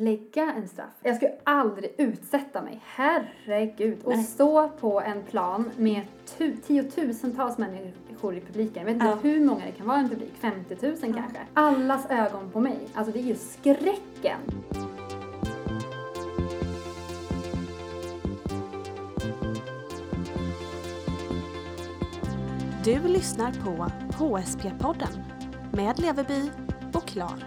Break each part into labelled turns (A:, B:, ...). A: lägga en straff. Jag skulle aldrig utsätta mig. Herregud. Och
B: Nej.
A: stå på en plan med tu- tiotusentals människor i publiken. Jag vet inte
B: Ja.
A: hur många det kan vara i en publik. 50 000 kanske. Allas ögon på mig. Alltså det är ju skräcken.
B: Du lyssnar på HSP-podden med Leveby och Klar.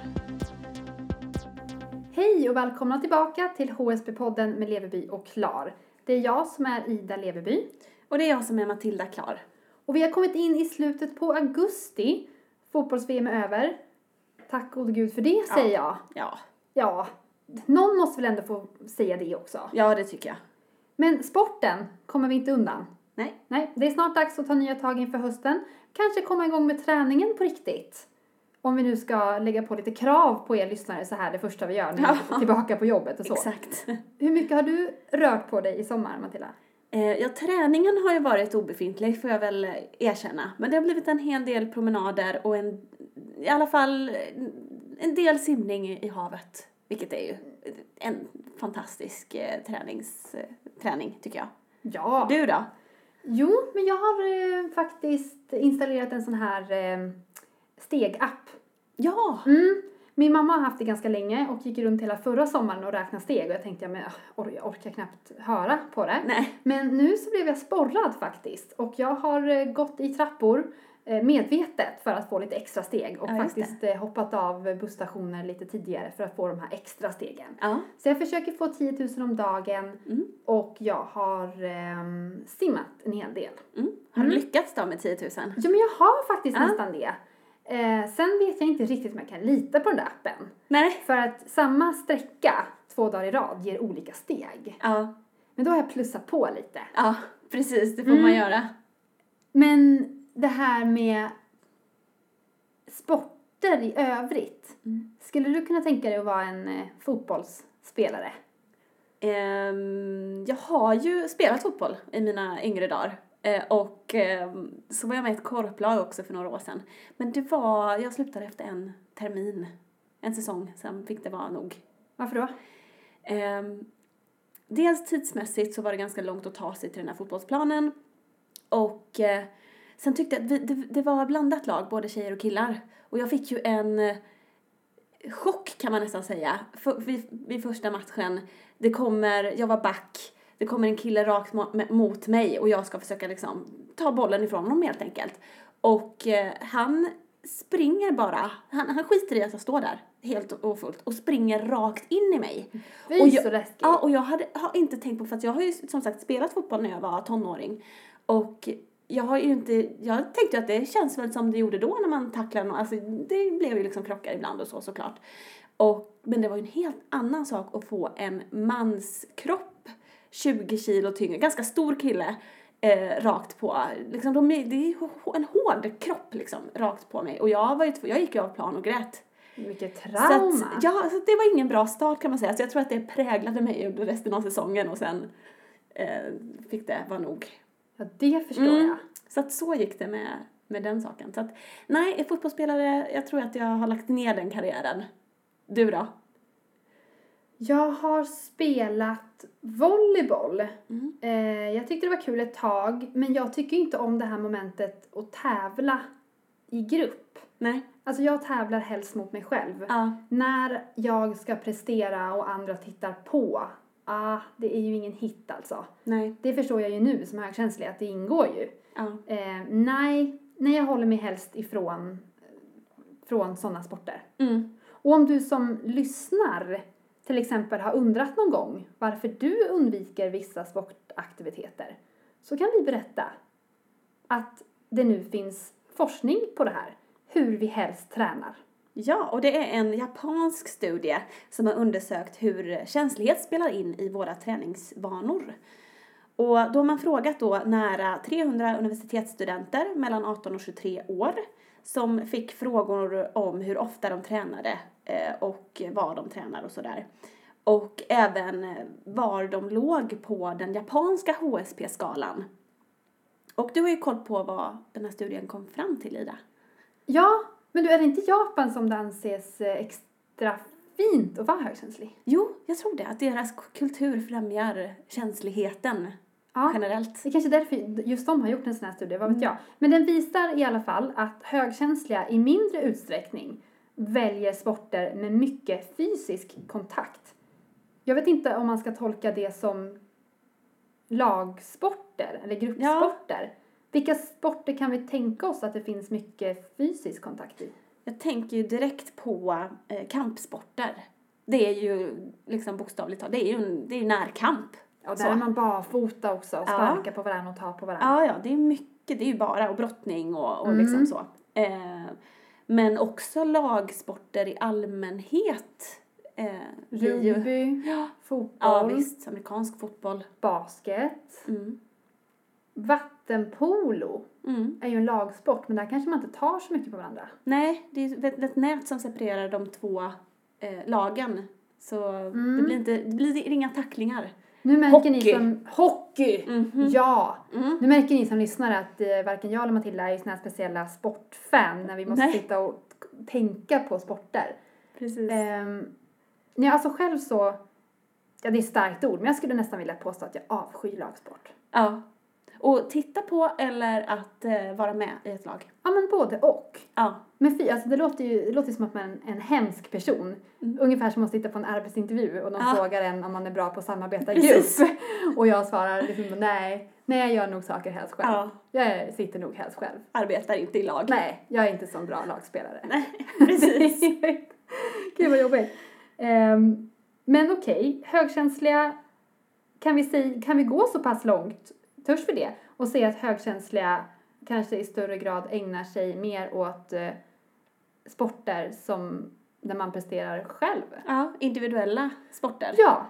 A: Hej och välkomna tillbaka till HSB-podden med Leveby och Klar. Det är jag som är Ida Leveby.
B: Och det är jag som är Matilda Klar.
A: Och vi har kommit in i slutet på augusti. Fotbolls-VM är över. Tack gode gud för det,
B: Ja.
A: säger jag.
B: Ja,
A: Ja, någon måste väl ändå få säga det också.
B: ja det tycker jag.
A: Men sporten kommer vi inte undan.
B: Nej.
A: Nej, det är snart dags att ta nya tag inför hösten. Kanske komma igång med träningen på riktigt. Om vi nu ska lägga på lite krav på er lyssnare så här det första vi gör när vi
B: Ja.
A: är tillbaka på jobbet och så.
B: Exakt.
A: Hur mycket har du rört på dig i sommar, Matilda?
B: Eh, Ja, träningen har ju varit obefintlig får jag väl eh, erkänna. Men det har blivit en hel del promenader och en, i alla fall eh, en del simning i i havet. Vilket är ju en fantastisk eh, tränings, eh, träning tycker jag.
A: Ja.
B: Du då?
A: Jo, men jag har eh, faktiskt installerat en sån här eh, stegapp.
B: Ja!
A: Mm. Min mamma har haft det ganska länge och gick runt hela förra sommaren och räknade steg och jag tänkte ja, men, ah, or- jag orkar knappt höra på det.
B: Nej.
A: Men nu så blev jag sporrad faktiskt och jag har eh, gått i trappor eh, medvetet för att få lite extra steg och
B: Ja, just det.
A: faktiskt eh, hoppat av busstationer lite tidigare för att få de här extra stegen.
B: Ja.
A: Så jag försöker få 10 000 om dagen
B: Mm.
A: och jag har ehm, simmat en hel del.
B: Mm. Har du lyckats då med 10 000?
A: Ja, men jag har faktiskt
B: Ja.
A: nästan det. Eh, sen vet jag inte riktigt om jag kan lita på den där appen.
B: Nej.
A: För att samma sträcka två dagar i rad ger olika steg.
B: Ja,
A: Men då har jag plussat på lite.
B: ja precis. Det får
A: Mm.
B: man göra.
A: Men det här med sporter i övrigt.
B: Mm.
A: Skulle du kunna tänka dig att vara en eh, fotbollsspelare?
B: Ehm, jag har ju spelat fotboll i mina yngre dagar. Eh, och ehm, så var jag med i ett korplag också för några år sedan. Men det var, jag slutade efter en termin, en säsong, sen fick det vara nog.
A: Varför då?
B: Ehm, dels tidsmässigt så var det ganska långt att ta sig till den här fotbollsplanen. Och eh, sen tyckte jag att vi, det, det var blandat lag, både tjejer och killar. Och jag fick ju en eh, chock kan man nästan säga, för, vid, vid första matchen. Det kommer, jag var back, det kommer en kille rakt mo- me- mot mig och jag ska försöka liksom ta bollen ifrån honom helt enkelt. Och eh, han springer bara, han, han skiter i att jag står där helt och fullt och springer rakt in i mig.
A: Fy
B: Och jag-
A: så läskigt.
B: Ja, och jag hade, har inte tänkt på, för att jag har ju som sagt spelat fotboll när jag var tonåring. Och jag har ju inte, jag tänkte ju att det känns väl som det gjorde då när man tacklar någon, alltså det blev ju liksom krockar ibland och så såklart. Och, men det var ju en helt annan sak att få en mans kropp, 20 kilo tyngre, ganska stor kille, eh, rakt på, liksom de, är- det är ju h- en hård kropp liksom, rakt på mig. Och jag var ju, tv- jag gick ju av plan och grät.
A: Mycket trauma.
B: Så att, ja, så det var ingen bra start kan man säga. Så jag tror att det präglade mig under resten av säsongen och sen eh, fick det vara nog.
A: Ja, det förstår
B: Mm.
A: jag.
B: Så att så gick det med, med den saken. Så att, nej, jag är fotbollsspelare, jag tror att jag har lagt ner den karriären. Du då?
A: Jag har spelat volleyboll.
B: Mm.
A: Eh, jag tyckte det var kul ett tag, men jag tycker inte om det här momentet att tävla i grupp.
B: Nej?
A: Alltså jag tävlar helst mot mig själv.
B: Ja.
A: När jag ska prestera och andra tittar på, ah, det är ju ingen hit alltså.
B: Nej.
A: Det förstår jag ju nu som högkänslig att det ingår ju.
B: Ja.
A: Eh, nej, nej, jag håller mig helst ifrån eh, från sådana sporter.
B: Mm.
A: Och om du som lyssnar till exempel har undrat någon gång varför du undviker vissa sportaktiviteter så kan vi berätta att det nu finns forskning på det här, hur vi helst tränar.
B: Ja, och det är en japansk studie som har undersökt hur känslighet spelar in i våra träningsvanor. Och då har man frågat då nära 300 universitetsstudenter mellan 18 och 23 år som fick frågor om hur ofta de tränade eh, och var de tränar och sådär. Och även eh, var de låg på den japanska HSP-skalan. Och du har ju koll på vad den här studien kom fram till, Ida.
A: Ja, men du, är det inte Japan som det anses eh, extra fint att vara högkänslig.
B: Jo, jag tror det. Att deras k- kultur främjar känsligheten
A: Ja.
B: generellt.
A: Det är kanske är därför just de har gjort en sån här studie, vad vet
B: Mm.
A: jag. Men den visar i alla fall att högkänsliga i mindre utsträckning väljer sporter med mycket fysisk kontakt. Jag vet inte om man ska tolka det som lagsporter eller gruppsporter. Vilka sporter kan vi tänka oss att det finns mycket fysisk kontakt i?
B: Jag tänker ju direkt på eh, kampsporter. Det är ju liksom bokstavligt talat, det är ju, en, det är ju närkamp.
A: Ja, där
B: Så.
A: är man barfota också och
B: Ja.
A: sparkar på varandra och tar på varandra.
B: Ja, ja, det är mycket, det är ju bara och brottning och, och
A: Mm.
B: liksom så. Eh, men också lagsporter i allmänhet. Eh, blir ju-
A: Rugby,
B: Ja, ja,
A: fotboll,
B: visst, amerikansk fotboll.
A: basket,
B: Mm.
A: vattenpolo.
B: Mm.
A: är ju en lagsport, men där kanske man inte tar så mycket på varandra.
B: Nej, det är ett, ett nät som separerar de två eh, lagen. Så
A: Mm.
B: det, blir inte, det blir inga tacklingar.
A: Nu märker ni
B: Hockey.
A: som... Hockey!
B: Mhm.
A: Ja!
B: Mm.
A: Nu märker ni som lyssnar att eh, varken jag eller Matilda är ju såna här speciella sportfan när vi måste
B: Nej.
A: sitta och t- tänka på sporter.
B: Precis.
A: Ehm, nej, alltså själv så... Ja, det är ett starkt ord, men jag skulle nästan vilja påstå att jag avskyr lagsport.
B: Ja. Och titta på eller att eh, vara med i ett lag.
A: Ja, men både och.
B: Ja.
A: Men fy, alltså det låter ju det låter ju som att man är en, en hemsk person.
B: Mm.
A: Ungefär som att sitta på en arbetsintervju och de
B: Ja.
A: frågar en om man är bra på att samarbeta i grupp.
B: Precis.
A: Och jag svarar liksom nej, nej jag gör nog saker helst själv.
B: Ja.
A: Jag sitter nog helst själv.
B: Arbetar inte i lag.
A: Nej, jag är inte sån bra lagspelare.
B: Nej, precis.
A: Gud vad jobbigt. Ehm, men okej, högkänsliga, kan vi, säga, kan vi gå så pass långt, törs vi det, och säga att högkänsliga kanske i större grad ägnar sig mer åt eh, sporter som, där man presterar själv?
B: Ja, individuella sporter.
A: Ja,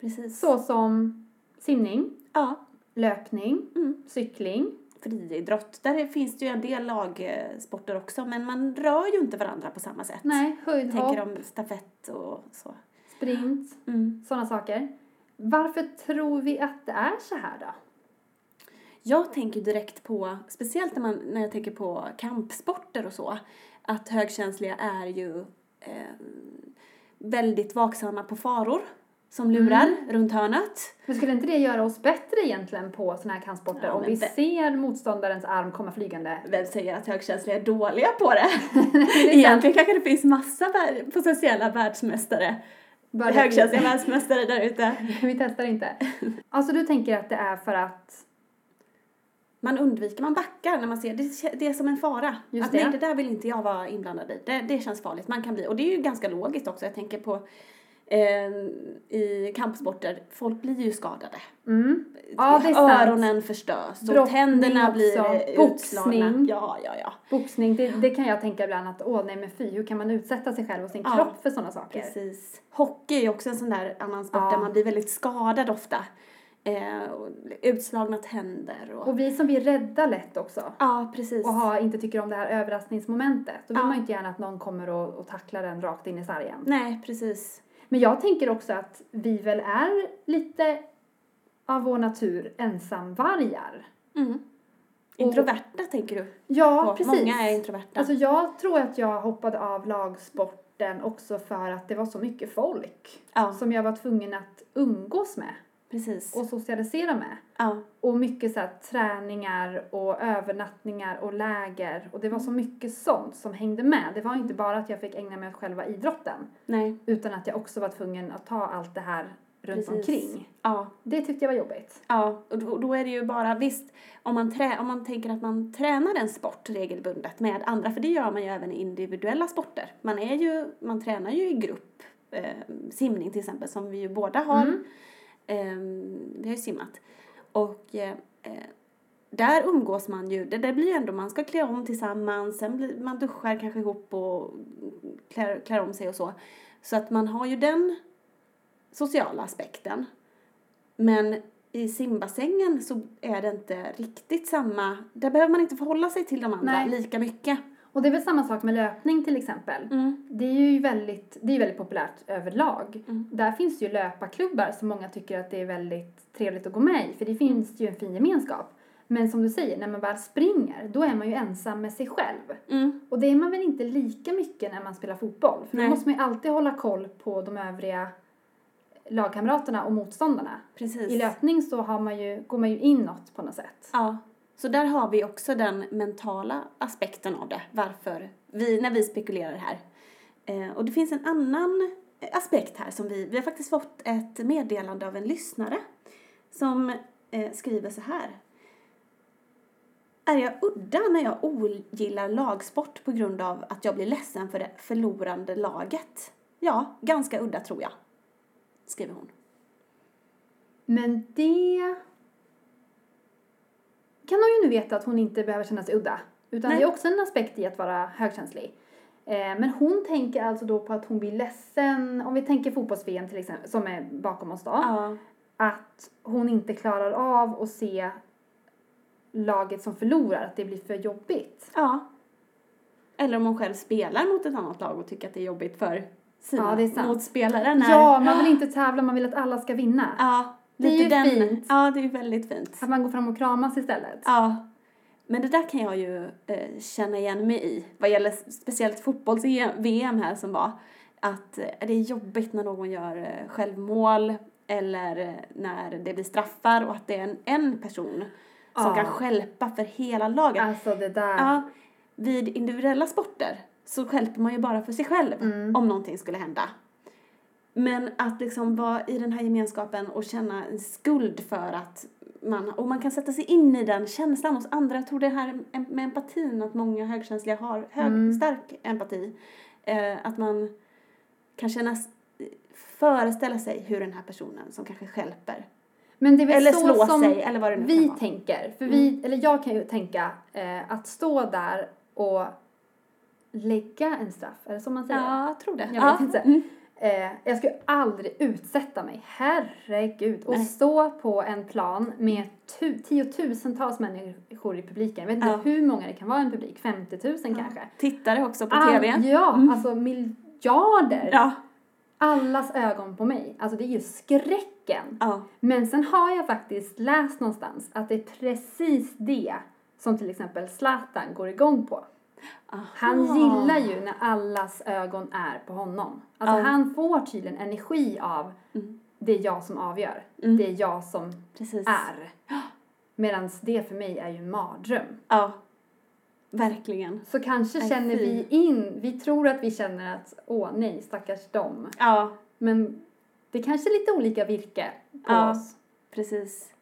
B: Precis.
A: så som simning,
B: Ja.
A: löpning,
B: Mm.
A: cykling,
B: Friidrott, där finns det ju en del lagsporter också men man rör ju inte varandra på samma sätt.
A: nej, höjdhopp,
B: Tänker om stafett och så.
A: sprint,
B: Mm.
A: sådana saker. Varför tror vi att det är så här då?
B: Jag tänker direkt på, speciellt när, man, när jag tänker på kampsporter och så, att högkänsliga är ju eh, väldigt vaksamma på faror som lurar runt hörnet.
A: Men skulle inte det göra oss bättre egentligen på sådana här kampsporter
B: Ja,
A: om
B: men
A: vi
B: det-
A: ser motståndarens arm komma flygande?
B: Vem säger att högkänsliga är dåliga på det?
A: sant.
B: Egentligen kanske det finns massa vär- potentiella världsmästare,
A: Bara-
B: högkänsliga världsmästare där ute.
A: vi testar inte. Alltså du tänker att det är för att...
B: Man undviker, man backar när man ser det, kä- det är som en fara.
A: Just
B: att
A: det.
B: nej, det där vill inte jag vara inblandad i. Det, det känns farligt. Man kan bli, och det är ju ganska logiskt också. Jag tänker på eh, i kampsporter, folk blir ju skadade.
A: Mm. Ja, det är sant.
B: Öronen förstörs och
A: Brottning
B: tänderna blir
A: också,
B: eh, utslagna.
A: boxning.
B: Ja, ja, ja.
A: Boxning, det, det kan jag tänka ibland att åh nej men fy, hur kan man utsätta sig själv och sin
B: Ja,
A: kropp för sådana saker?
B: Precis. Hockey är ju också en sån där annan sport
A: Ja.
B: där man blir väldigt skadad ofta. Eh, och utslagna tänder och...
A: Och vi som blir rädda lätt också
B: Ja, precis.
A: och har, inte tycker om det här överraskningsmomentet, då vill
B: Ja.
A: man ju inte gärna att någon kommer och, och tacklar en rakt in i sargen.
B: Nej, precis.
A: Men jag tänker också att vi väl är lite av vår natur ensamvargar.
B: Mm. Introverta tänker du?
A: Ja,
B: på.
A: precis.
B: Många är introverta.
A: Alltså jag tror att jag hoppade av lagsporten också för att det var så mycket folk
B: ja,
A: som jag var tvungen att umgås med
B: precis.
A: och socialisera med.
B: ja,
A: Och mycket så här, träningar och övernattningar och läger och det var så mycket sånt som hängde med. Det var inte bara att jag fick ägna mig åt själva idrotten
B: nej,
A: utan att jag också var tvungen att ta allt det här runt
B: Precis.
A: omkring.
B: ja,
A: Det tyckte jag var jobbigt.
B: ja. Och då, då är det ju bara, visst, om man, trä, om man tänker att man tränar en sport regelbundet med andra, för det gör man ju även i individuella sporter. Man, är ju, man tränar ju i grupp, eh, simning till exempel, som vi ju båda har.
A: Mm.
B: Ehm, vi har ju simmat. Och eh, eh, där umgås man ju, det, det blir ju ändå, man ska klä om tillsammans, sen blir, man duschar kanske ihop och klär, klär om sig och så. Så att man har ju den sociala aspekten. Men i simbassängen så är det inte riktigt samma, där behöver man inte förhålla sig till de andra
A: Nej.
B: lika mycket.
A: Och det är väl samma sak med löpning till exempel. Det är ju väldigt, det är väldigt populärt överlag.
B: Mm.
A: Där finns det ju löparklubbar som många tycker att det är väldigt trevligt att gå med i för det finns ju en fin gemenskap. Men som du säger, när man väl springer, då är man ju ensam med sig själv.
B: Mm.
A: Och det är man väl inte lika mycket när man spelar fotboll. För
B: Nej.
A: då måste man ju alltid hålla koll på de övriga lagkamraterna och motståndarna.
B: Precis.
A: I löpning så har man ju, går man ju inåt på något sätt.
B: Ja. Så där har vi också den mentala aspekten av det, varför vi, när vi spekulerar här. Eh, och det finns en annan aspekt här som vi, vi har faktiskt fått ett meddelande av en lyssnare som eh, skriver så här. Är jag udda när jag ogillar lagsport på grund av att jag blir ledsen för det förlorande laget? Ja, ganska udda tror jag, skriver hon.
A: Men det kan hon ju nu veta att hon inte behöver känna sig udda. Utan
B: Nej.
A: det är också en aspekt i att vara högkänslig. Eh, men hon tänker alltså då på att hon blir ledsen, om vi tänker fotbolls-VM till exempel, som är bakom oss då.
B: Ja,
A: Att hon inte klarar av att se laget som förlorar, att det blir för jobbigt.
B: Ja. Eller om hon själv spelar mot ett annat lag och tycker att det är jobbigt för sina
A: Ja, det är sant.
B: motspelare. När,
A: Ja, man vill inte tävla, man vill att alla ska vinna.
B: Ja,
A: Det är
B: lite
A: ju
B: den.
A: fint.
B: Ja, det är ju väldigt fint.
A: Att man går fram och kramas istället.
B: Ja. Men det där kan jag ju eh, känna igen mig i. Vad gäller speciellt fotbolls-VM här som var. Att eh, det är jobbigt när någon gör eh, självmål eller eh, när det blir straffar och att det är en, en person som
A: Ja.
B: kan skälpa för hela laget.
A: Alltså det där.
B: Ja, vid individuella sporter så skälper man ju bara för sig själv
A: Mm.
B: om någonting skulle hända. Men att liksom vara i den här gemenskapen och känna en skuld för att man, och man kan sätta sig in i den känslan hos andra. Jag tror det här em- med empatin, att många högkänsliga har hög,
A: Mm.
B: stark empati. Eh, att man kan känna, s- föreställa sig hur den här personen som kanske skälper,
A: Men det är väl
B: eller
A: så
B: slår
A: som
B: sig, eller vad det nu
A: vi
B: kan vara.
A: tänker, för vi,
B: Mm.
A: eller jag kan ju tänka eh, att stå där och lägga en straff, är det så man säger?
B: Ja, jag tror det.
A: Jag
B: ja.
A: vet inte.
B: Mm.
A: Eh, jag skulle aldrig utsätta mig, herregud, och
B: Nej.
A: stå på en plan med tu- tiotusentals människor i publiken. Jag vet inte
B: Ja.
A: hur många det kan vara i en publik, 50 000 kanske.
B: Tittare också på
A: All-
B: TV.
A: Ja,
B: Mm.
A: alltså miljarder.
B: Ja.
A: Allas ögon på mig. Alltså det är ju skräcken.
B: Ja.
A: Men sen har jag faktiskt läst någonstans att det är precis det som till exempel Zlatan går igång på. Han gillar ju när allas ögon är på honom. Alltså
B: Ja.
A: han får tydligen energi av
B: Mm.
A: det är jag som avgör.
B: Mm.
A: Det är jag som
B: Precis.
A: är. Medan det för mig är ju en mardröm.
B: Ja. Verkligen.
A: Så kanske
B: Nej,
A: känner
B: fy.
A: vi in, vi tror att vi känner att åh nej, stackars dem.
B: Ja,
A: Men det kanske är lite olika virke på
B: Ja.
A: oss.
B: precis.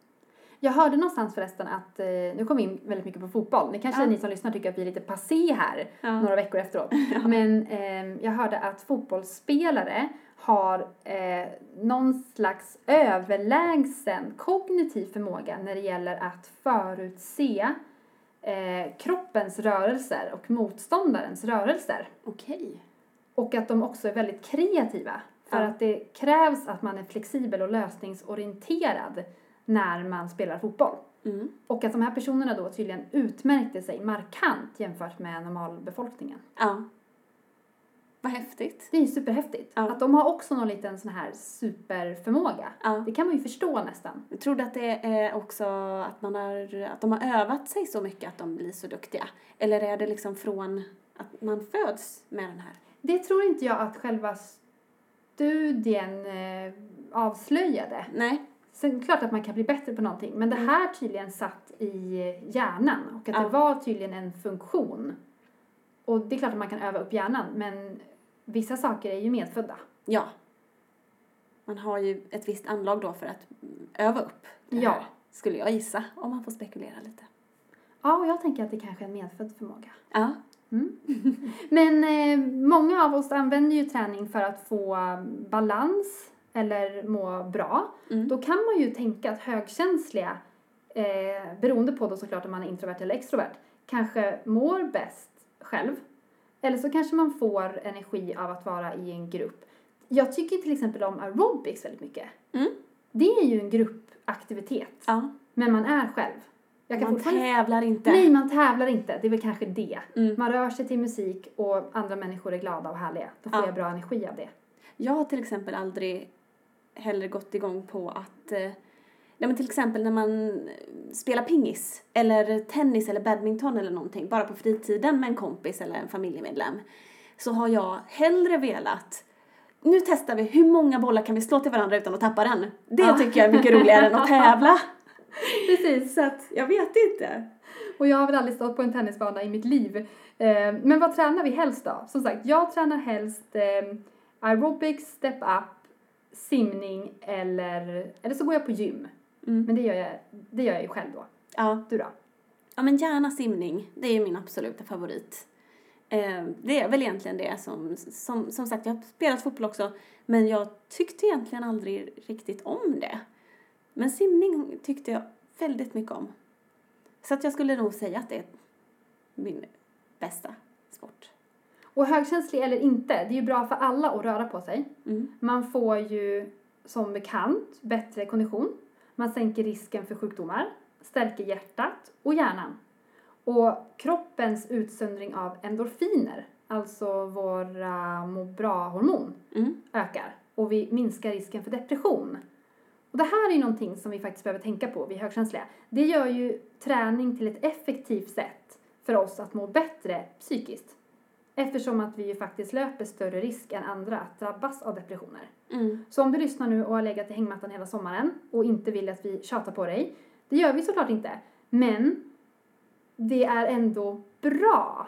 A: Jag hörde någonstans förresten att, eh, nu kom vi in väldigt mycket på fotboll, det kanske
B: Ja.
A: ni som lyssnar tycker att vi är lite passé här
B: Ja.
A: några veckor efteråt. Men ehm, jag hörde att fotbollsspelare har eh, någon slags överlägsen kognitiv förmåga när det gäller att förutse eh, kroppens rörelser och motståndarens rörelser.
B: Okej.
A: Och att de också är väldigt kreativa. För
B: Ja.
A: att det krävs att man är flexibel och lösningsorienterad när man spelar fotboll.
B: Mm.
A: Och att de här personerna då tydligen utmärkte sig markant jämfört med normalbefolkningen.
B: Ja. Vad häftigt.
A: Det är ju superhäftigt.
B: Ja.
A: Att de har också någon liten sån här superförmåga.
B: Ja.
A: Det kan man ju förstå nästan.
B: Jag trodde att det är också att, man har, att de har övat sig så mycket att de blir så duktiga. Eller är det liksom från att man föds med den här?
A: Det tror inte jag att själva studien eh, avslöjade.
B: Nej.
A: Sen klart att man kan bli bättre på någonting, men det här tydligen satt i eh, hjärnan och att
B: Mm.
A: det
B: Ja.
A: var tydligen en funktion. Och det är klart att man kan öva upp hjärnan, men vissa saker är ju medfödda.
B: Ja. Man har ju ett visst anlag då för att mm, öva upp det här,
A: Ja.
B: Skulle jag gissa, om man får spekulera lite.
A: Ja, och jag tänker att det kanske är en medfödd förmåga.
B: Ja.
A: Men eh, många av oss använder ju träning för att få balans eller må bra.
B: Mm.
A: Då kan man ju tänka att högkänsliga, eh, beroende på då såklart om man är introvert eller extrovert, kanske mår bäst själv. Eller så kanske man får energi av att vara i en grupp. Jag tycker till exempel om aerobics väldigt mycket.
B: Mm.
A: Det är ju en gruppaktivitet,
B: ja.
A: men man är själv. Jag kan
B: Man
A: fortfarande
B: tävlar inte.
A: Nej, man tävlar inte. Det är väl kanske det.
B: Mm.
A: Man rör sig till musik och andra människor är glada och härliga. Då får
B: Ja.
A: jag bra energi av det.
B: Jag har till exempel aldrig heller gått igång på att eh, Nej, men till exempel när man eh, spelar pingis eller tennis eller badminton eller någonting bara på fritiden med en kompis eller en familjemedlem så har jag hellre velat nu testar vi hur många bollar kan vi slå till varandra utan att tappa den. Det
A: Ja.
B: tycker jag är mycket roligare än att tävla.
A: Precis.
B: Så att jag vet inte.
A: Och jag har väl aldrig stått på en tennisbana i mitt liv. Eh, Men vad tränar vi helst då? Som sagt, jag tränar helst eh, aerobics, step up, simning eller, eller så går jag på gym.
B: Mm.
A: Men det gör jag, det gör jag ju själv då.
B: Ja.
A: Du då?
B: ja, men gärna simning. Det är ju min absoluta favorit. Eh, Det är väl egentligen det som, som, som sagt, jag har spelat fotboll också, men jag tyckte egentligen aldrig riktigt om det. Men simning tyckte jag väldigt mycket om. Så att jag skulle nog säga att det är min bästa sport.
A: Och högkänslig eller inte, det är ju bra för alla att röra på sig.
B: Mm.
A: Man får ju som bekant bättre kondition. Man sänker risken för sjukdomar, stärker hjärtat och hjärnan. Och kroppens utsöndring av endorfiner, alltså våra må bra-hormon,
B: Mm.
A: ökar. Och vi minskar risken för depression. Och det här är ju någonting som vi faktiskt behöver tänka på, vi högkänsliga. Det gör ju träning till ett effektivt sätt för oss att må bättre psykiskt. Eftersom att vi ju faktiskt löper större risk än andra att drabbas av depressioner.
B: Mm.
A: Så om du lyssnar nu och har legat i hängmattan hela sommaren och inte vill att vi tjatar på dig, det gör vi såklart inte, men det är ändå bra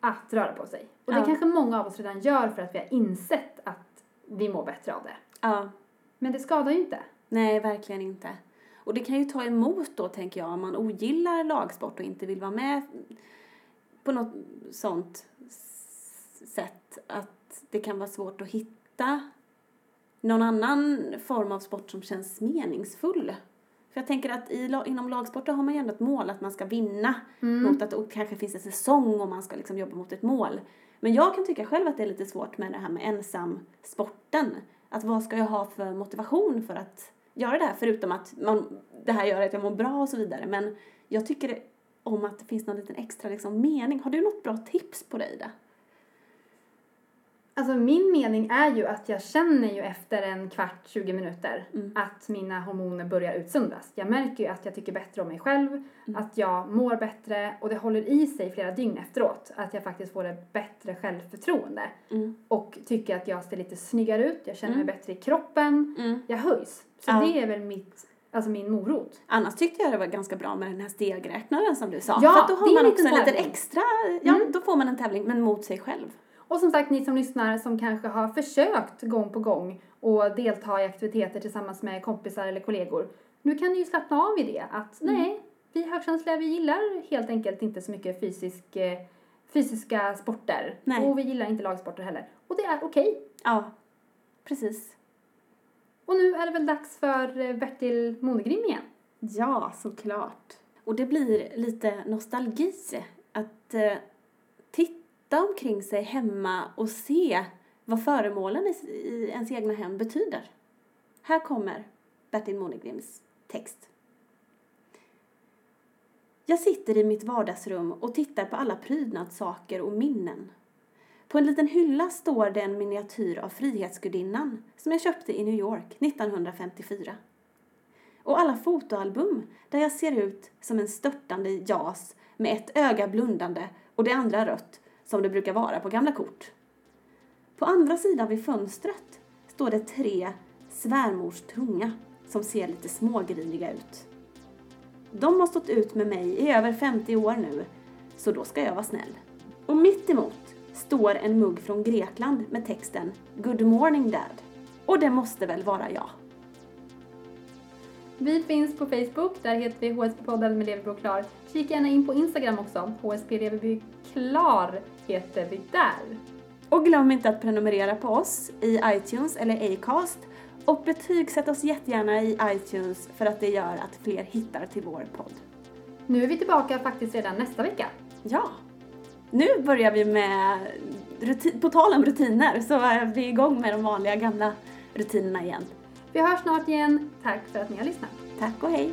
A: att röra på sig. Och det
B: Ja.
A: kanske många av oss redan gör för att vi har insett att vi mår bättre av det.
B: Ja,
A: Men det skadar ju inte.
B: nej, verkligen inte. Och det kan ju ta emot då, tänker jag, om man ogillar lagsport och inte vill vara med på något sånt s- sätt att det kan vara svårt att hitta någon annan form av sport som känns meningsfull. För jag tänker att i, la- inom lagsporter har man ju ändå ett mål att man ska vinna
A: Mm.
B: mot att och kanske finns en säsong och man ska liksom jobba mot ett mål. Men jag kan tycka själv att det är lite svårt med det här med ensamsporten. Att vad ska jag ha för motivation för att göra det här? Förutom att man, det här gör att jag mår bra och så vidare. Men jag tycker det- om att det finns någon liten extra liksom mening. Har du något bra tips på dig där?
A: Alltså min mening är ju att jag känner ju efter en kvart, 20 minuter
B: Mm.
A: att mina hormoner börjar utsöndras. Jag märker ju att jag tycker bättre om mig själv, att jag mår bättre och det håller i sig flera dygn efteråt. Att jag faktiskt får ett bättre självförtroende
B: Mm.
A: och tycker att jag ser lite snyggare ut, jag känner mig bättre i kroppen,
B: Mm.
A: jag höjs. Så
B: Ja.
A: det är väl mitt, alltså min morot.
B: Annars tyckte jag det var ganska bra med den här stegräknaren som du sa.
A: Ja,
B: För att då
A: det är
B: har man
A: en
B: också
A: liten
B: en liten
A: tävling. Mm.
B: extra, ja då får man en tävling men mot sig själv.
A: Och som sagt, ni som lyssnar som kanske har försökt gång på gång och delta i aktiviteter tillsammans med kompisar eller kollegor. Nu kan ni ju slappna av i det att nej, vi högkänsliga vi gillar helt enkelt inte så mycket fysisk, eh, fysiska sporter.
B: Nej.
A: Och vi gillar inte lagsporter heller. Och det är okej.
B: Ja, precis.
A: Och nu är det väl dags för eh, Bertil Monegrim igen.
B: Ja, såklart. Och det blir lite nostalgi att eh, titta omkring sig hemma och se vad föremålen i, i ens egna hem betyder. Här kommer Bertil Monegrims text. Jag sitter i mitt vardagsrum och tittar på alla prydnadssaker och minnen. På en liten hylla står det en miniatyr av Frihetsgudinnan som jag köpte i New York 1954 och alla fotoalbum där jag ser ut som en störtande jas med ett öga blundande och det andra rött som det brukar vara på gamla kort. På andra sidan vid fönstret står det tre svärmors tunga som ser lite smågriniga ut. De har stått ut med mig i över 50 år nu, så då ska jag vara snäll. Och mitt emot står en mugg från Grekland med texten Good morning dad. Och det måste väl vara jag.
A: Vi finns på Facebook, där heter vi HSP-podden med Leverby och Klar. Kika gärna in på Instagram också. HSP Leverby Klar heter vi där.
B: Och glöm inte att prenumerera på oss i iTunes eller Acast och betygsätt oss jättegärna i iTunes för att det gör att fler hittar till vår podd.
A: Nu är vi tillbaka faktiskt redan nästa vecka.
B: Ja! Nu börjar vi med, ruti- på tal om rutiner, så är vi igång med de vanliga gamla rutinerna igen.
A: Vi hörs snart igen. Tack för att ni har lyssnat.
B: Tack och hej!